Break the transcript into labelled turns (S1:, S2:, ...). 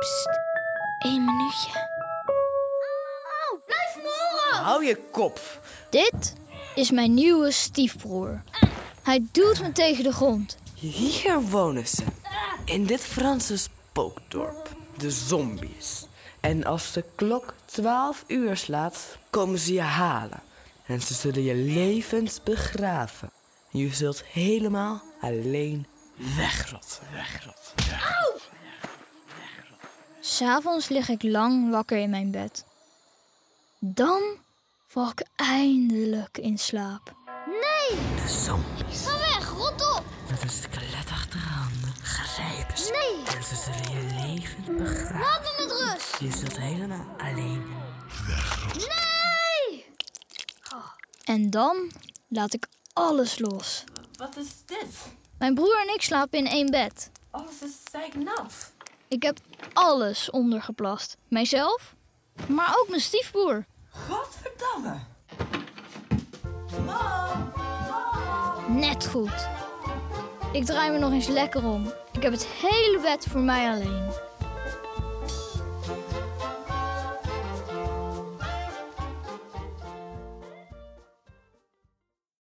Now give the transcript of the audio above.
S1: Pst, één minuutje.
S2: Hou je kop.
S1: Dit is mijn nieuwe stiefbroer. Hij duwt me tegen de grond.
S2: Hier wonen ze. In dit Franse spookdorp. De zombies. En als de klok 12 uur slaat, komen ze je halen. En ze zullen je levend begraven. Je zult helemaal alleen wegrotten.
S1: S'avonds lig ik lang wakker in mijn bed. Dan val ik eindelijk in slaap.
S2: De zombies
S3: Ga weg, rot op!
S2: met een skelet achter handen grijpen ze.
S3: Nee,
S2: En ze zullen je levend begraven.
S3: laat me met rust!
S2: Je zult helemaal alleen
S1: En dan laat ik alles los.
S4: Wat is dit?
S1: Mijn broer en ik slapen in één bed.
S2: Oh,
S4: Alles is zeiknat.
S1: Ik heb alles ondergeplast. Mijzelf, maar ook mijn stiefbroer.
S4: Godverdamme.
S1: Net goed. Ik draai me nog eens lekker om. Ik heb het hele bed voor mij alleen.